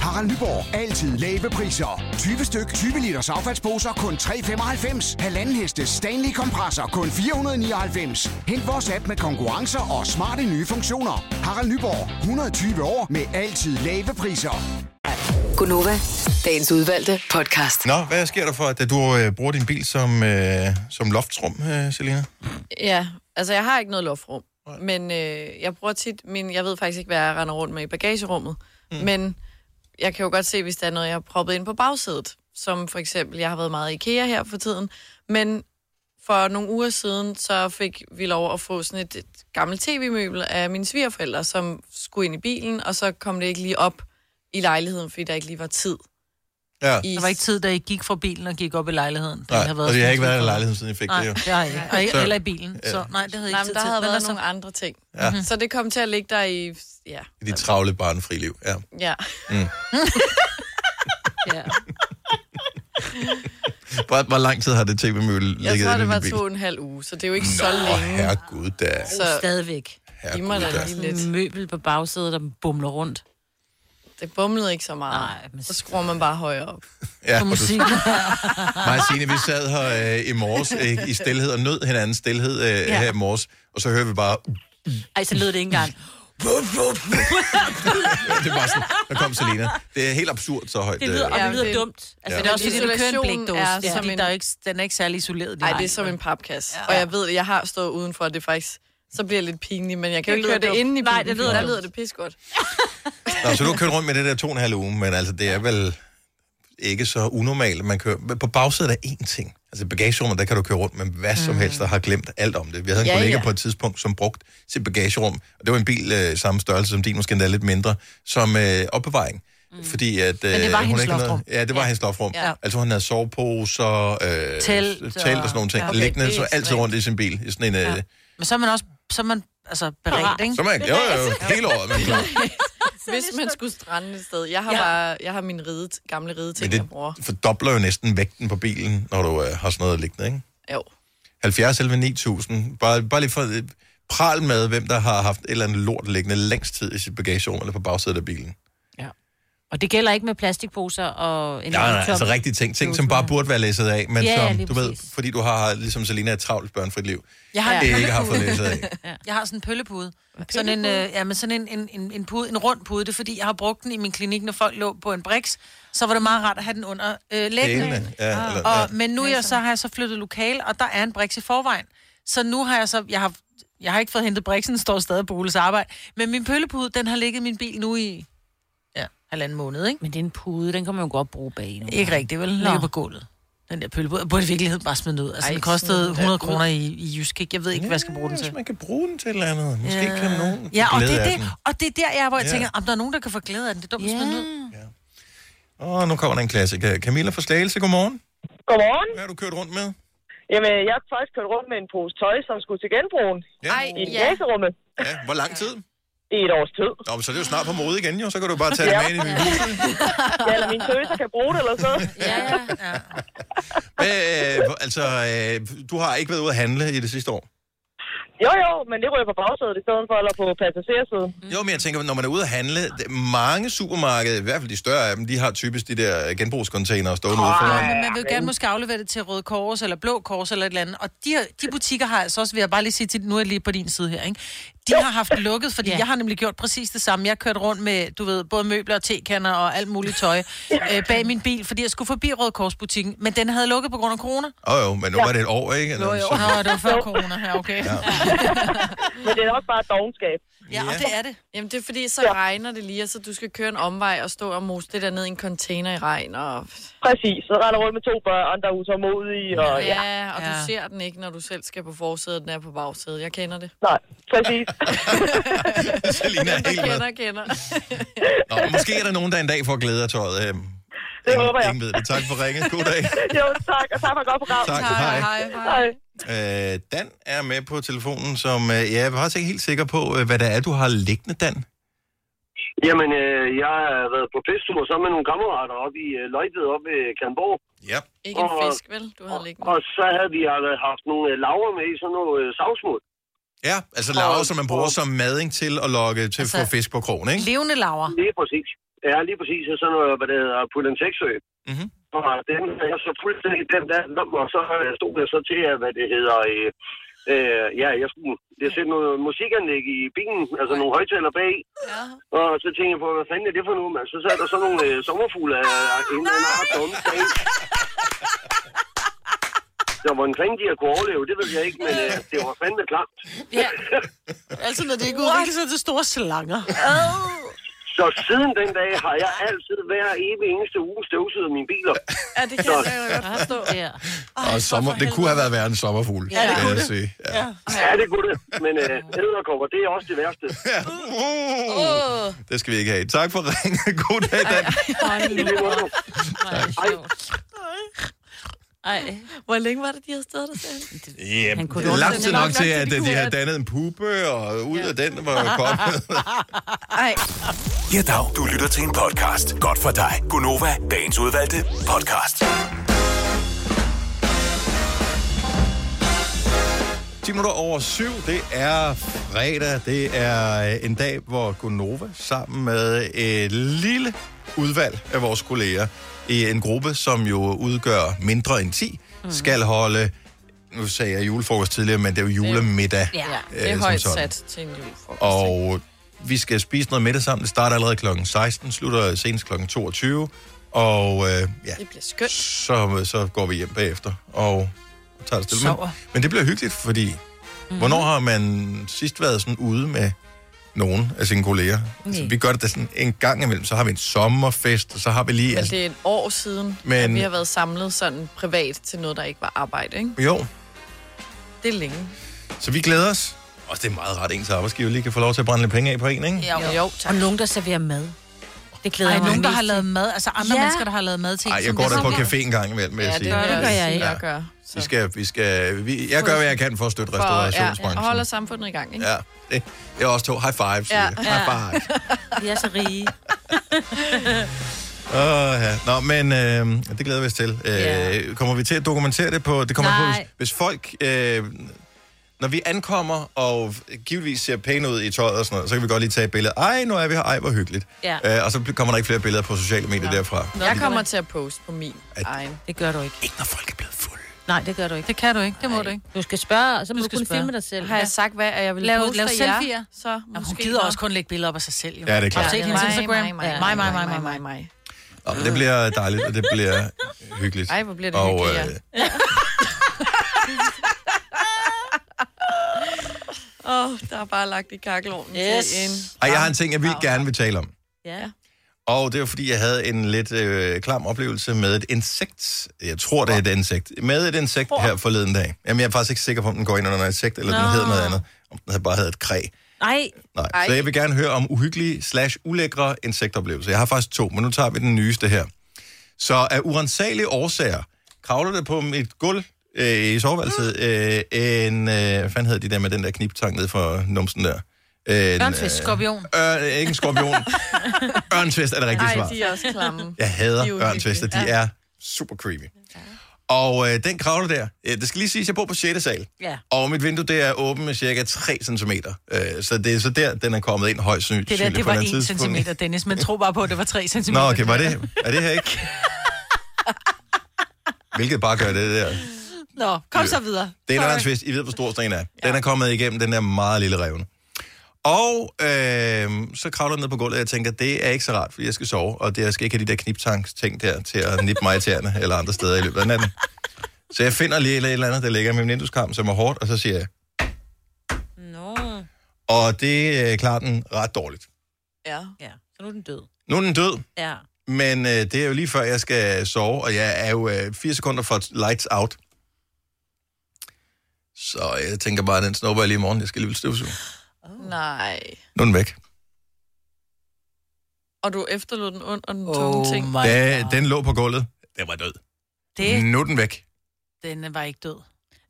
[SPEAKER 8] Harald Nyborg. Altid lave priser. 20 styk, 20 liters affaldsposer kun 3,95. Halvanden heste Stanley kompresser kun 499. Hent vores app med konkurrencer og smarte nye funktioner. Harald Nyborg. 120 år med altid lave priser.
[SPEAKER 9] Gunova, dagens udvalgte podcast.
[SPEAKER 1] Nå, hvad sker der for, at du øh, bruger din bil som, øh, som loftsrum, øh, Selina?
[SPEAKER 5] Ja, altså jeg har ikke noget lofrum, men øh, jeg bruger tit min... Jeg ved faktisk ikke, hvad jeg render rundt med i bagagerummet, mm. men jeg kan jo godt se, hvis der er noget, jeg har proppet ind på bagsædet, som for eksempel, jeg har været meget i IKEA her for tiden, men for nogle uger siden, så fik vi lov at få sådan et, et gammelt tv-møbel af mine svigerforældre, som skulle ind i bilen, og så kom det ikke lige op i lejligheden, fordi der ikke lige var tid.
[SPEAKER 1] Ja.
[SPEAKER 5] I,
[SPEAKER 3] Der var ikke tid, da I gik fra bilen og gik op i lejligheden. Det
[SPEAKER 1] Nej, og det har ikke været i lejligheden, siden jeg fik
[SPEAKER 3] Nej,
[SPEAKER 1] det jo.
[SPEAKER 3] det har jeg ikke. Og ikke
[SPEAKER 1] Så-
[SPEAKER 3] eller i bilen. Så nej, det havde jeg
[SPEAKER 5] Nej,
[SPEAKER 3] ikke
[SPEAKER 5] men
[SPEAKER 3] tid
[SPEAKER 5] der
[SPEAKER 3] til.
[SPEAKER 5] havde
[SPEAKER 3] Hvad er
[SPEAKER 5] været
[SPEAKER 3] så?
[SPEAKER 5] nogle andre ting. Mhm.
[SPEAKER 1] Ja.
[SPEAKER 5] Så det kom til at ligge der i... Ja,
[SPEAKER 1] I dit travle barnfri liv. Ja.
[SPEAKER 5] ja.
[SPEAKER 2] Ja.
[SPEAKER 1] Hvor, hvor lang tid har det tv-mølle ligget
[SPEAKER 5] Jeg tror,
[SPEAKER 1] inde
[SPEAKER 5] det
[SPEAKER 1] i
[SPEAKER 5] var
[SPEAKER 1] din bil?
[SPEAKER 5] to og en halv uge, så det er jo ikke Nå, så
[SPEAKER 1] Åh,
[SPEAKER 5] længe.
[SPEAKER 1] herregud da.
[SPEAKER 5] Så
[SPEAKER 2] Stadigvæk.
[SPEAKER 5] giv mig da lige lidt.
[SPEAKER 2] Lidt. Møbel på bagsædet, der bumler rundt.
[SPEAKER 5] Det bumlede ikke så meget.
[SPEAKER 2] Nej, men-
[SPEAKER 5] Så skruer man bare højere op.
[SPEAKER 1] Ja,
[SPEAKER 2] På
[SPEAKER 1] og du,
[SPEAKER 2] musik.
[SPEAKER 1] mig og Signe, vi sad her øh, i morges øh, i stillhed og nød hinandens stillhed øh, ja. her i morges, og så hører vi bare,
[SPEAKER 2] Ej, så lød det ikke engang.
[SPEAKER 1] det var sådan, der kom Selena. Det er helt absurd så højt.
[SPEAKER 2] Det lyder, og
[SPEAKER 1] øh,
[SPEAKER 2] det
[SPEAKER 5] Ja,
[SPEAKER 2] lyder
[SPEAKER 5] det-
[SPEAKER 2] dumt. Altså,
[SPEAKER 1] Ja.
[SPEAKER 2] det er også fordi, du kører en
[SPEAKER 5] Isolationen
[SPEAKER 2] blækdåse.
[SPEAKER 5] er
[SPEAKER 2] Ja.
[SPEAKER 5] som
[SPEAKER 2] Fordi
[SPEAKER 5] en-
[SPEAKER 2] der
[SPEAKER 3] Der er
[SPEAKER 2] er
[SPEAKER 3] jo
[SPEAKER 2] jo
[SPEAKER 3] ikke, den er ikke særlig isoleret.
[SPEAKER 5] Nej, det er som en papkasse. Ja. Og jeg ved, jeg har stået udenfor, og det er faktisk... Så bliver jeg lidt pinlig, men jeg kan jo
[SPEAKER 2] Det
[SPEAKER 5] ikke
[SPEAKER 2] lyder
[SPEAKER 5] høre det
[SPEAKER 2] dumt.
[SPEAKER 5] inde i bilen.
[SPEAKER 2] Nej, det lyder
[SPEAKER 5] for der
[SPEAKER 2] dumt.
[SPEAKER 5] lyder det pisgodt.
[SPEAKER 1] Nå, så du har kørt rundt med det der to og en halv uge, men altså, det er vel ikke så unormalt. Man kører, men på bagsædet er én ting. Altså i bagagerummet, der kan du køre rundt med hvad som helst, der har glemt alt om det. Vi havde en
[SPEAKER 5] Ja,
[SPEAKER 1] kollega
[SPEAKER 5] ja.
[SPEAKER 1] på et tidspunkt, som brugte sit bagagerum, og det var en bil øh, samme størrelse som din, måske endda lidt mindre, som øh, opbevaring. Mm. Fordi at, øh,
[SPEAKER 3] det var hendes
[SPEAKER 1] ikke havde-
[SPEAKER 3] lofrum.
[SPEAKER 1] Ja, det var ja. hendes lofrum. Ja.
[SPEAKER 3] Ja.
[SPEAKER 1] Altså hun havde soveposer, øh,
[SPEAKER 3] Telt
[SPEAKER 1] telt, og
[SPEAKER 3] og-
[SPEAKER 1] sådan nogle ting.
[SPEAKER 3] Ja,
[SPEAKER 1] Ja,
[SPEAKER 3] okay,
[SPEAKER 1] okay, liggende
[SPEAKER 5] det er
[SPEAKER 1] så altid
[SPEAKER 5] ekstremt.
[SPEAKER 1] rundt i sin bil. I sådan en, øh, ja.
[SPEAKER 3] Men så er man også så er man, altså, beredt, ikke?
[SPEAKER 1] Så er man, jo, jo, jo, hele året. Man klar.
[SPEAKER 5] Hvis man skulle strande et sted. Jeg har, ja. bare, jeg har mine ride, gamle rideting, jeg
[SPEAKER 1] Men
[SPEAKER 5] bruger.
[SPEAKER 1] det fordobler jo næsten vægten på bilen, når du øh, har sådan noget liggende, ikke?
[SPEAKER 5] Jo.
[SPEAKER 1] 70 11 9000. Bare, bare lige for øh, pral med, hvem der har haft et eller andet lort liggende længst tid i sit bagagerum eller på bagsædet af bilen.
[SPEAKER 2] Og det gælder ikke med plastikposer og en
[SPEAKER 1] Nej, nej,
[SPEAKER 2] tom-
[SPEAKER 1] altså rigtige ting. Ting, som bare burde være læsset af, men
[SPEAKER 2] Ja, ja,
[SPEAKER 1] som,
[SPEAKER 2] lige
[SPEAKER 1] du ved,
[SPEAKER 2] præcis.
[SPEAKER 1] fordi du har, ligesom Selina, et travlt børnefrit liv,
[SPEAKER 3] Jeg har,
[SPEAKER 1] det
[SPEAKER 3] en
[SPEAKER 1] ikke har fået
[SPEAKER 3] pøllepude.
[SPEAKER 1] læsset af.
[SPEAKER 3] Jeg har sådan en pøllepude. Sådan en, øh, ja, men sådan en, en, en, en, pude, en rund pude. Det er, fordi jeg har brugt den i min klinik, når folk lå på en briks. Så var det meget rart at have den under øh, læggene.
[SPEAKER 1] Hælene, ja, eller, ja.
[SPEAKER 3] Og, men nu er jeg, så har jeg så flyttet lokal, og der er en briks i forvejen. Så nu har jeg så... Jeg har, jeg har ikke fået hentet briksen, den står stadig på Oles arbejde. Men min pøllepude, den har ligget i min bil nu i ja, halvanden måned, ikke?
[SPEAKER 2] Men det er en pude, den kan man jo godt bruge bag nu.
[SPEAKER 3] Ikke rigtigt, vel? Ligger på gulvet. Den der pøllepude. Jeg burde i virkeligheden bare smide den ud. Altså,
[SPEAKER 5] Ej,
[SPEAKER 3] den
[SPEAKER 5] smid
[SPEAKER 3] kostede
[SPEAKER 5] den
[SPEAKER 3] 100
[SPEAKER 5] da ud.
[SPEAKER 3] kroner i, i Jysk, ikke? Jeg ved ikke, hvad jeg skal bruge den
[SPEAKER 1] Hvis
[SPEAKER 3] til.
[SPEAKER 1] man kan bruge den til et eller andet. Måske ja. kan nogen
[SPEAKER 3] Ja,
[SPEAKER 1] få
[SPEAKER 3] og
[SPEAKER 1] glæde
[SPEAKER 3] det, er
[SPEAKER 1] af
[SPEAKER 3] det,
[SPEAKER 1] den.
[SPEAKER 3] og det er der, jeg er, hvor jeg
[SPEAKER 1] Ja.
[SPEAKER 3] tænker, om der er nogen, der kan få glæde af den. Det er dumt at smide den ud.
[SPEAKER 1] Åh, nu kommer der en klassiker. Camilla fra Slagelse, godmorgen.
[SPEAKER 10] Godmorgen.
[SPEAKER 1] Hvad har du kørt rundt med?
[SPEAKER 10] Jamen, jeg har faktisk kørt rundt med en pose tøj, som skulle til genbrugen
[SPEAKER 1] Ja.
[SPEAKER 5] Ej,
[SPEAKER 10] i
[SPEAKER 5] ja.
[SPEAKER 10] bagagerummet
[SPEAKER 1] ja. Hvor lang tid?
[SPEAKER 10] i et års tid.
[SPEAKER 1] Nå, men så er det jo snart på mode igen, jo. Så kan du bare tage det med ind i din hus.
[SPEAKER 10] Ja, eller mine tøser kan bruge det eller sådan noget.
[SPEAKER 2] Ja, ja.
[SPEAKER 1] Hvad, øh, altså, øh, du har ikke været ude at handle i det sidste år?
[SPEAKER 10] Jo, jo, men det ryger på bagsædet i stedet for, eller på passagersiden.
[SPEAKER 1] Mm. Jo, men jeg tænker, når man er ude at handle, det- mange supermarkeder, i hvert fald de større af dem, de har typisk de der genbrugscontainere stående ude
[SPEAKER 3] Ja,
[SPEAKER 1] foran.
[SPEAKER 3] men man vil jo gerne måske aflevere det til Røde Kors eller Blå Kors eller et eller andet. Og de, her- de butikker har altså også, vil jeg bare lige sige til, nu er jeg lige på din side her, ikke? De har haft lukket, fordi
[SPEAKER 2] Ja.
[SPEAKER 3] jeg har nemlig gjort præcis det samme. Jeg har kørt rundt med, du ved, både møbler og tekander og alt muligt tøj øh, bag min bil, fordi jeg skulle forbi Røde Kors butikken, men den havde lukket på grund af corona.
[SPEAKER 1] Åh oh, jo, men nu var det et år, ikke? Eller, jo,
[SPEAKER 3] Nå, det var før corona her, okay. Ja,
[SPEAKER 10] Men det er også bare et dogenskab.
[SPEAKER 3] ja og det er det.
[SPEAKER 5] Jamen, det er fordi, så regner det lige, og så du skal køre en omvej og stå og mose det der ned i en container i regn. Og,
[SPEAKER 10] Præcis, så render rundt med to børn, der er utålmodige, og ja.
[SPEAKER 5] ja, og
[SPEAKER 3] Ja.
[SPEAKER 5] du ser den ikke, når du selv skal på forsædet, den er på bagsædet. Jeg kender det.
[SPEAKER 10] nej, præcis.
[SPEAKER 1] Selina er helt med.
[SPEAKER 5] Kender, kender.
[SPEAKER 1] Nå, måske er der nogen, der en dag får glæde af tøjet. Øh,
[SPEAKER 10] Det håber jeg.
[SPEAKER 1] Ingen ved det. Tak for ringet. God dag.
[SPEAKER 10] jo, tak, og tak for et godt program.
[SPEAKER 1] Tak. Hej.
[SPEAKER 5] Hej, hej, hej.
[SPEAKER 10] Hej.
[SPEAKER 1] Øh, Dan er med på telefonen, som øh, jeg er faktisk ikke helt sikker på, øh, hvad det er, du har liggende, Dan.
[SPEAKER 11] Jamen, øh, jeg har været på festtur sammen med nogle kammerater oppe i øh, Løjtved oppe ved Kalmborg.
[SPEAKER 1] Ja.
[SPEAKER 5] Ikke en
[SPEAKER 11] Og-
[SPEAKER 5] fisk, vel? Du havde liggende.
[SPEAKER 11] Og så havde vi øh, haft nogle øh, laver med i sådan noget øh, savsmuld.
[SPEAKER 1] Ja, altså laver, som man bruger som mading til at lokke til at få
[SPEAKER 3] Altså-
[SPEAKER 1] fisk på krogen, ikke?
[SPEAKER 3] Levende laver.
[SPEAKER 11] Lige præcis. Ja, lige præcis. Og sådan noget, hvad det hedder, Pullensexø.
[SPEAKER 1] Mhm.
[SPEAKER 11] Og den havde jeg så fuldstændig den der lom, og så øh, stod jeg så til, at, hvad det hedder... Øh, øh, ja, jeg skulle jeg sætte noget musikanlæg i bilen, altså nogle højtaler bag.
[SPEAKER 5] Ja.
[SPEAKER 11] Og så tænkte jeg på, hvad fanden er det for noget, mand? Så sad der sådan nogle øh, sommerfugle af af en eller anden art dumme dag. Så hvordan fanden de har kunne overleve, det ved jeg ikke, men øh, det var fandme klamt.
[SPEAKER 3] Altså, når det ikke udvikler sig til store slanger.
[SPEAKER 11] Så siden den dag har jeg altid hver evig eneste uge støvsuget mine biler.
[SPEAKER 5] Ja, det kan jeg godt forstå.
[SPEAKER 2] Ja.
[SPEAKER 1] Og sommer, det kunne have været værre en sommerfugl, ja, det kunne jeg sige. Ja.
[SPEAKER 11] Ja, det kunne det, men øh, æderkopper, det er også det værste.
[SPEAKER 1] Ja. Uh. Det skal vi ikke have. Tak for ringen. God dag, Dan.
[SPEAKER 11] I lige måde.
[SPEAKER 2] Hvor er det sjovt. Ej,
[SPEAKER 5] Hvor længe var det, de havde stået der selv?
[SPEAKER 1] Ja,
[SPEAKER 2] Han kunne
[SPEAKER 1] det er
[SPEAKER 2] godt
[SPEAKER 1] lang
[SPEAKER 2] sende
[SPEAKER 1] tid
[SPEAKER 2] nok
[SPEAKER 1] nok til,
[SPEAKER 2] nok til,
[SPEAKER 1] at
[SPEAKER 2] de
[SPEAKER 1] øh, de
[SPEAKER 2] kunne
[SPEAKER 1] har
[SPEAKER 2] have
[SPEAKER 1] dannet en puppe, og ud af den var kommet.
[SPEAKER 5] Ej,
[SPEAKER 4] Ja, dag. Du lytter til en podcast. Godt for dig. Gunova, dagens udvalgte podcast.
[SPEAKER 1] 10 minutter over 7, det er fredag. Det er øh, en dag, hvor Gunova sammen med et lille udvalg af vores kolleger i en gruppe, som jo udgør mindre end 10,
[SPEAKER 5] Mhm.
[SPEAKER 1] mm. skal holde, nu sagde jeg julefrokost tidligere, men det er jo julemiddag.
[SPEAKER 5] Ja,
[SPEAKER 1] øh,
[SPEAKER 5] det er
[SPEAKER 1] som
[SPEAKER 5] højt
[SPEAKER 1] sådan.
[SPEAKER 5] sat til en julefrokost.
[SPEAKER 1] Og vi skal spise noget middag sammen. Det starter allerede kl. 16, slutter senest kl. 22. Og øh, ja,
[SPEAKER 5] Det bliver skønt.
[SPEAKER 1] så, så går vi hjem bagefter og tager det stille. Men,
[SPEAKER 5] Sover. Mhm.
[SPEAKER 1] men det bliver hyggeligt, fordi mm-hmm. hvornår har man sidst været sådan ude med nogen af sine kolleger? Altså,
[SPEAKER 5] Nej.
[SPEAKER 1] vi gør det da sådan en gang imellem. Så har vi en sommerfest, og så har vi lige...
[SPEAKER 5] Men
[SPEAKER 1] altså,
[SPEAKER 5] det er et år siden,
[SPEAKER 1] Men-
[SPEAKER 5] Men... at vi har været samlet sådan privat til noget, der ikke var arbejde, ikke?
[SPEAKER 1] Jo,
[SPEAKER 5] Det er længe.
[SPEAKER 1] så vi glæder os. Og det er meget rart, at ens arbejdsgiver lige kan få lov til at brænde lidt penge af på en, ikke?
[SPEAKER 3] Jo, jo tak.
[SPEAKER 2] Og nogen, der serverer mad. Det glæder
[SPEAKER 3] Ej,
[SPEAKER 2] jeg mig
[SPEAKER 3] nogen, der
[SPEAKER 2] mest
[SPEAKER 3] har
[SPEAKER 2] til.
[SPEAKER 3] lavet mad. Altså andre
[SPEAKER 2] Ja.
[SPEAKER 3] ja. mennesker, der har lavet mad til en,
[SPEAKER 1] Nej, jeg
[SPEAKER 3] som
[SPEAKER 1] går
[SPEAKER 3] det
[SPEAKER 1] da på
[SPEAKER 3] smager.
[SPEAKER 1] café en gang imellem, vil jeg
[SPEAKER 5] Ja,
[SPEAKER 1] sige.
[SPEAKER 5] det gør,
[SPEAKER 2] Det gør jeg ikke.
[SPEAKER 5] Jeg gør.
[SPEAKER 1] Vi skal, vi skal, vi, jeg gør, hvad jeg kan for at støtte restaurationsbranchen.
[SPEAKER 5] og holder samfundet i gang, ikke?
[SPEAKER 1] Ja, det, det er også to. High five, siger
[SPEAKER 5] Ja.
[SPEAKER 1] ja. High five.
[SPEAKER 2] Vi er så rige.
[SPEAKER 1] Åh, ja. Nå, men øh, det glæder vi os til. Øh,
[SPEAKER 2] Ja.
[SPEAKER 1] Kommer vi til at dokumentere det på... Det kommer an på,
[SPEAKER 2] Nej.
[SPEAKER 1] hvis, hvis folk... Øh, når vi ankommer og givetvis ser pæne ud i tøjet og sådan noget, så kan vi godt lige tage et billede. Ej, nu er vi her. Ej, hvor hyggeligt.
[SPEAKER 2] Ja.
[SPEAKER 1] Øh, og så bl- kommer der ikke flere billeder på sociale medier derfra.
[SPEAKER 5] Jeg kommer til at poste på min egen.
[SPEAKER 2] Det gør du ikke.
[SPEAKER 1] Ikke når folk er blevet fulde.
[SPEAKER 2] Nej, det gør du ikke.
[SPEAKER 3] Det kan du ikke, det må du ikke.
[SPEAKER 2] Du skal spørge, og så må
[SPEAKER 3] Du
[SPEAKER 2] du,
[SPEAKER 3] skal
[SPEAKER 2] kunne
[SPEAKER 3] spørge.
[SPEAKER 2] filme dig selv.
[SPEAKER 5] Har jeg sagt, hvad at jeg vil
[SPEAKER 3] Lav-
[SPEAKER 5] poste
[SPEAKER 3] lav
[SPEAKER 5] for
[SPEAKER 3] selfier.
[SPEAKER 5] jer? Så
[SPEAKER 3] Jamen, hun
[SPEAKER 5] måske
[SPEAKER 3] gider
[SPEAKER 5] nok.
[SPEAKER 3] også kun lægge billeder op af sig selv. Jo.
[SPEAKER 1] Ja, det er klart.
[SPEAKER 3] Har du set
[SPEAKER 5] Ja,
[SPEAKER 3] hendes
[SPEAKER 5] mig,
[SPEAKER 3] Instagram?
[SPEAKER 5] mig, mig,
[SPEAKER 3] mig, mig, mig, mig, mig.
[SPEAKER 5] mig.
[SPEAKER 1] Nå, men det bliver dejligt, og det bliver hyggeligt.
[SPEAKER 5] Ej, hvor bliver det
[SPEAKER 1] og, øh,
[SPEAKER 5] hyggeligt, ja. Åh, oh, der er bare lagt i kakkelovnen yes. til en...
[SPEAKER 1] Ej, jeg har en ting, jeg vildt gerne vil tale om.
[SPEAKER 2] Ja.
[SPEAKER 1] Og det var, fordi jeg havde en lidt øh, klam oplevelse med et insekt. Jeg tror, det er et insekt. Med et insekt her forleden dag. Jamen, jeg er faktisk ikke sikker på, om den går ind under en insekt, eller Nå. den
[SPEAKER 2] Nå.
[SPEAKER 1] hedder noget andet. Om den havde bare hedder et kræ.
[SPEAKER 2] Nej,
[SPEAKER 1] Nej.
[SPEAKER 5] Ej.
[SPEAKER 1] Så jeg vil gerne høre om uhyggelige slash ulækre insektoplevelser. Jeg har faktisk to, men nu tager vi den nyeste her. Så af urensagelige årsager kravler det på mit gulv øh, i soveværelset øh, en... Øh, hvad fanden hedder de der med den der kniptang ned for numsen der? En,
[SPEAKER 3] Ørnfisk, skorpion.
[SPEAKER 1] Øh, øh, ikke en skorpion. Ørnfisk er det rigtige
[SPEAKER 5] Nej,
[SPEAKER 1] svar.
[SPEAKER 5] de er også klamme.
[SPEAKER 1] Jeg hader
[SPEAKER 5] De er uhyggelige.
[SPEAKER 1] ørntvester. De
[SPEAKER 5] Ja.
[SPEAKER 1] er super creepy. Og øh, den kravler der. Øh, det skal lige siges, jeg bor på 6. sal.
[SPEAKER 2] Ja.
[SPEAKER 1] Og mit vindue det er åbent med cirka 3 cm. Øh, så det er så der, den er kommet ind højst sandsynligt.
[SPEAKER 3] Det der, det
[SPEAKER 1] på et
[SPEAKER 3] var
[SPEAKER 1] eller andet
[SPEAKER 3] 1
[SPEAKER 1] tidspunkt.
[SPEAKER 3] cm, Dennis, men tro bare på, at det var 3 cm.
[SPEAKER 1] Nå, okay, var det? Er det her ikke? Hvilket bare gør det der.
[SPEAKER 3] Nå, kom så videre.
[SPEAKER 1] Det er en anden twist. I ved, hvor stor sådan en er. Den er kommet igennem den der meget lille revne. Og øh, så kravler den ned på gulvet, og jeg tænker, det er ikke så rart, fordi jeg skal sove, og det, jeg skal ikke have de der kniptanks ting der til at nippe mig i tæerne eller andre steder i løbet af natten. Så jeg finder lige et eller andet, der ligger i min vindueskarm, som er hårdt, og så siger jeg,
[SPEAKER 2] Nå.
[SPEAKER 1] og det øh, klarer den ret dårligt.
[SPEAKER 5] Ja.
[SPEAKER 2] Ja, så nu er den død.
[SPEAKER 1] Nu er den død,
[SPEAKER 2] Ja.
[SPEAKER 1] men øh, det er jo lige før, jeg skal sove, og jeg er jo øh, fire sekunder fra lights out. Så jeg tænker bare, den snupper jeg lige i morgen, jeg skal alligevel støvsuge.
[SPEAKER 5] Nej.
[SPEAKER 1] Nu er den væk.
[SPEAKER 5] Og du efterlod den under den tunge ting.
[SPEAKER 3] Oh my
[SPEAKER 1] Da, den lå på gulvet. Den var død.
[SPEAKER 3] Det,
[SPEAKER 1] Nu er den væk.
[SPEAKER 3] den var ikke død.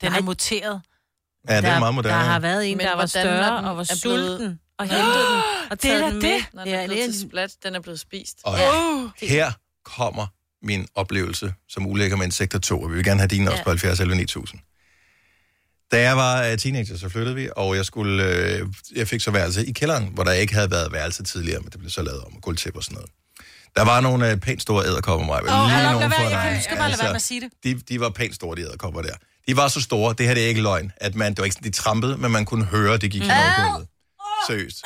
[SPEAKER 3] Den
[SPEAKER 2] Nej.
[SPEAKER 3] er muteret.
[SPEAKER 1] Mm. Ja, det er meget
[SPEAKER 2] Der
[SPEAKER 1] moderne.
[SPEAKER 2] har været en,
[SPEAKER 5] Men
[SPEAKER 2] der var
[SPEAKER 5] hvordan, når
[SPEAKER 2] større
[SPEAKER 5] den
[SPEAKER 2] og var
[SPEAKER 5] er blevet-
[SPEAKER 2] sulten og hentede den og
[SPEAKER 3] Det er
[SPEAKER 2] taget
[SPEAKER 3] da
[SPEAKER 2] den
[SPEAKER 3] det.
[SPEAKER 2] med.
[SPEAKER 5] Når den
[SPEAKER 2] Ja,
[SPEAKER 5] er
[SPEAKER 2] det
[SPEAKER 5] blevet til
[SPEAKER 2] er
[SPEAKER 5] splat, den er blevet spist.
[SPEAKER 1] Og
[SPEAKER 2] Uh,
[SPEAKER 1] her kommer min oplevelse som ulækker med insekter 2, og vi vil gerne have din også på 70 11 9000. Da jeg var øh, teenager, så flyttede vi, og jeg, skulle, øh, jeg fik så værelse i kælderen, hvor der ikke havde været værelse tidligere, men det blev så lavet om, og gulvtæppe og sådan noget. Der var nogle øh, pænt store æderkopper mig.
[SPEAKER 3] Åh,
[SPEAKER 1] lige
[SPEAKER 3] lad- lad
[SPEAKER 1] nogen
[SPEAKER 3] være,
[SPEAKER 1] for
[SPEAKER 3] jeg kan-
[SPEAKER 1] dig. Altså,
[SPEAKER 3] du skal bare lade være med at sige det.
[SPEAKER 1] De, de var pænt store, de æderkopper der. De var så store, det her det er ikke løgn, at man, det var ikke sådan, de trampede, men man kunne høre, det gik mm. over gulvet. Seriøst.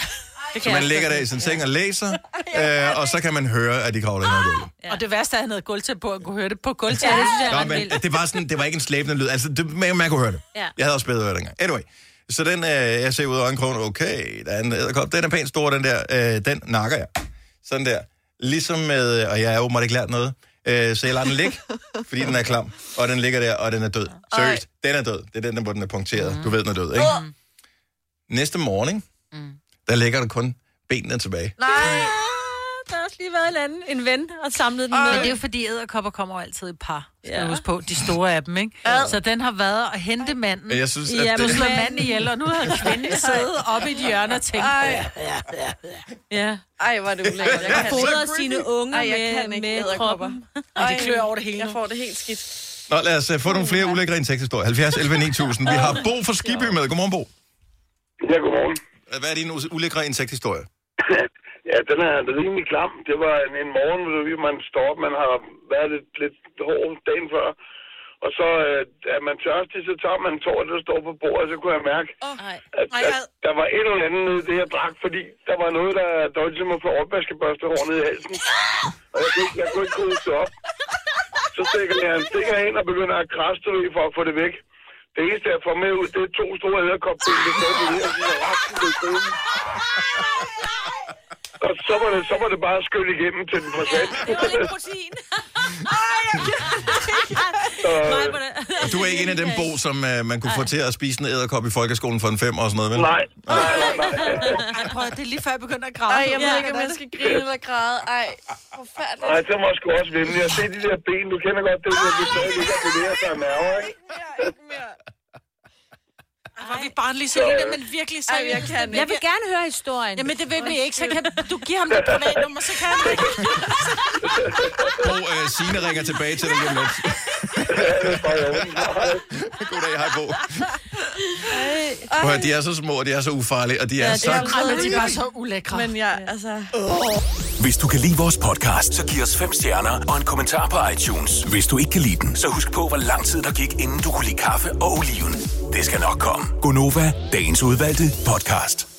[SPEAKER 3] Det
[SPEAKER 1] Så man ligger der i sin seng og læser, øh, og så kan man høre, at de kravler ind over gulvet.
[SPEAKER 3] Og det værste er, at han havde gulvtæppe på, og kunne høre det på gulvtæppe.
[SPEAKER 2] det synes jeg
[SPEAKER 1] Nå,
[SPEAKER 2] er ret
[SPEAKER 1] men
[SPEAKER 2] vildt.
[SPEAKER 1] det var, sådan, det var ikke en slæbende lyd. Altså, det, man, man kunne høre det.
[SPEAKER 2] Ja.
[SPEAKER 1] Jeg havde også bedre hørt dengang. Anyway, så den, øh, jeg ser ud af øjenkrogen, okay, der er en æderkop. Den er pænt stor, den der. Øh, den nakker jeg. Sådan der. Ligesom med, og jeg er åbenbart ikke lært noget, øh, så jeg lader den ligge, fordi den er klam, og den ligger der, og den er død. Seriøst, den er død. Det er den, der, hvor den er punkteret. Du ved, den er død, ikke?
[SPEAKER 2] Mm.
[SPEAKER 1] Næste morgen, der ligger der kun benene tilbage.
[SPEAKER 5] Nej.
[SPEAKER 2] Der har også lige været en anden, en ven, og samlede den
[SPEAKER 3] Men
[SPEAKER 2] med.
[SPEAKER 3] det er jo fordi, æderkopper kommer jo altid i par, skal
[SPEAKER 2] Ja.
[SPEAKER 3] ja. huske på, de store af dem, ikke? Så den har været at hente manden.
[SPEAKER 1] Men jeg synes, at
[SPEAKER 2] Ja,
[SPEAKER 1] det,
[SPEAKER 3] Du slår manden ihjel, og nu har kvinden siddet oppe i et hjørne og tænkt,
[SPEAKER 2] Ja.
[SPEAKER 5] Ej, var det ulækkert. Jeg kan
[SPEAKER 2] Fodrer sine unge
[SPEAKER 5] Ej, jeg
[SPEAKER 2] med,
[SPEAKER 5] kan ikke
[SPEAKER 2] med
[SPEAKER 5] æderkopper.
[SPEAKER 2] kroppen.
[SPEAKER 5] Ej,
[SPEAKER 3] det klør over det hele
[SPEAKER 5] Jeg
[SPEAKER 3] nu.
[SPEAKER 5] får det helt skidt.
[SPEAKER 1] Nå, lad os uh, få nogle flere ulækre indtægtshistorier. 70 11 9000. Vi har Bo fra Skiby med. Godmorgen, Bo.
[SPEAKER 11] Ja, godmorgen.
[SPEAKER 1] Hvad er din us- ulækre indtægtshistorie?
[SPEAKER 11] Ja, den er rimelig klam. Det var en, en morgen, hvor vi- man står op, man har været lidt, lidt hård dagen før. Og så øh, er man tørstig, så tager man en tår, der står på bordet, så kunne jeg mærke,
[SPEAKER 3] oh,
[SPEAKER 11] at, at der var et eller andet nede i det, jeg drak, fordi der var ligesom noget, der døjte mig på opvaskebørstehår nede i halsen. Og jeg kunne, ikke- jeg kunne ikke kunne det op. Så stikker jeg en stikker ind og begynder at krasse det i for at få det væk. Det eneste, jeg får med ud, det er to store æderkopper, der står på det, og så er resten blevet siddende. Og så var det, så var det bare at skylle igennem til den forsvandt.
[SPEAKER 2] protein.
[SPEAKER 11] Nej,
[SPEAKER 1] Og du er ikke en af dem, Bo, som uh, man kunne få til at spise en æderkop i folkeskolen for en fem og sådan noget, vel?
[SPEAKER 11] Nej.
[SPEAKER 3] Ej, prøv, at- det er lige før jeg begynder at græde.
[SPEAKER 5] Ej, jeg ved
[SPEAKER 3] Ja.
[SPEAKER 5] ikke, om jeg skal grine eller græde. Ej, forfærdeligt.
[SPEAKER 11] Nej, det var sgu også venlig. At se de der ben, du kender godt det, der vi stadig ligger og bevæger sig af nerver, ikke?
[SPEAKER 3] Var vi barnlige, Selina, men virkelig så.
[SPEAKER 5] Ej, jeg kan ikke.
[SPEAKER 2] Jeg vil gerne høre historien.
[SPEAKER 3] Jamen, det vil vi ikke. Så kan du give ham dit privatnummer, så kan han ikke.
[SPEAKER 1] Bo, uh, Signe ringer tilbage til dig lige om lidt. Goddag, hej Bo. Prøv, at høre, de er så små, og de er så ufarlige, og de er ja, så...
[SPEAKER 5] jeg
[SPEAKER 3] Ej, men de er bare så ulækre.
[SPEAKER 5] Men jeg, altså...
[SPEAKER 4] Hvis du kan lide vores podcast, så giv os fem stjerner og en kommentar på iTunes. Hvis du ikke kan lide den, så husk på, hvor lang tid der gik, inden du kunne lide kaffe og oliven. Det skal nok komme.
[SPEAKER 6] Gonova, dagens udvalgte podcast.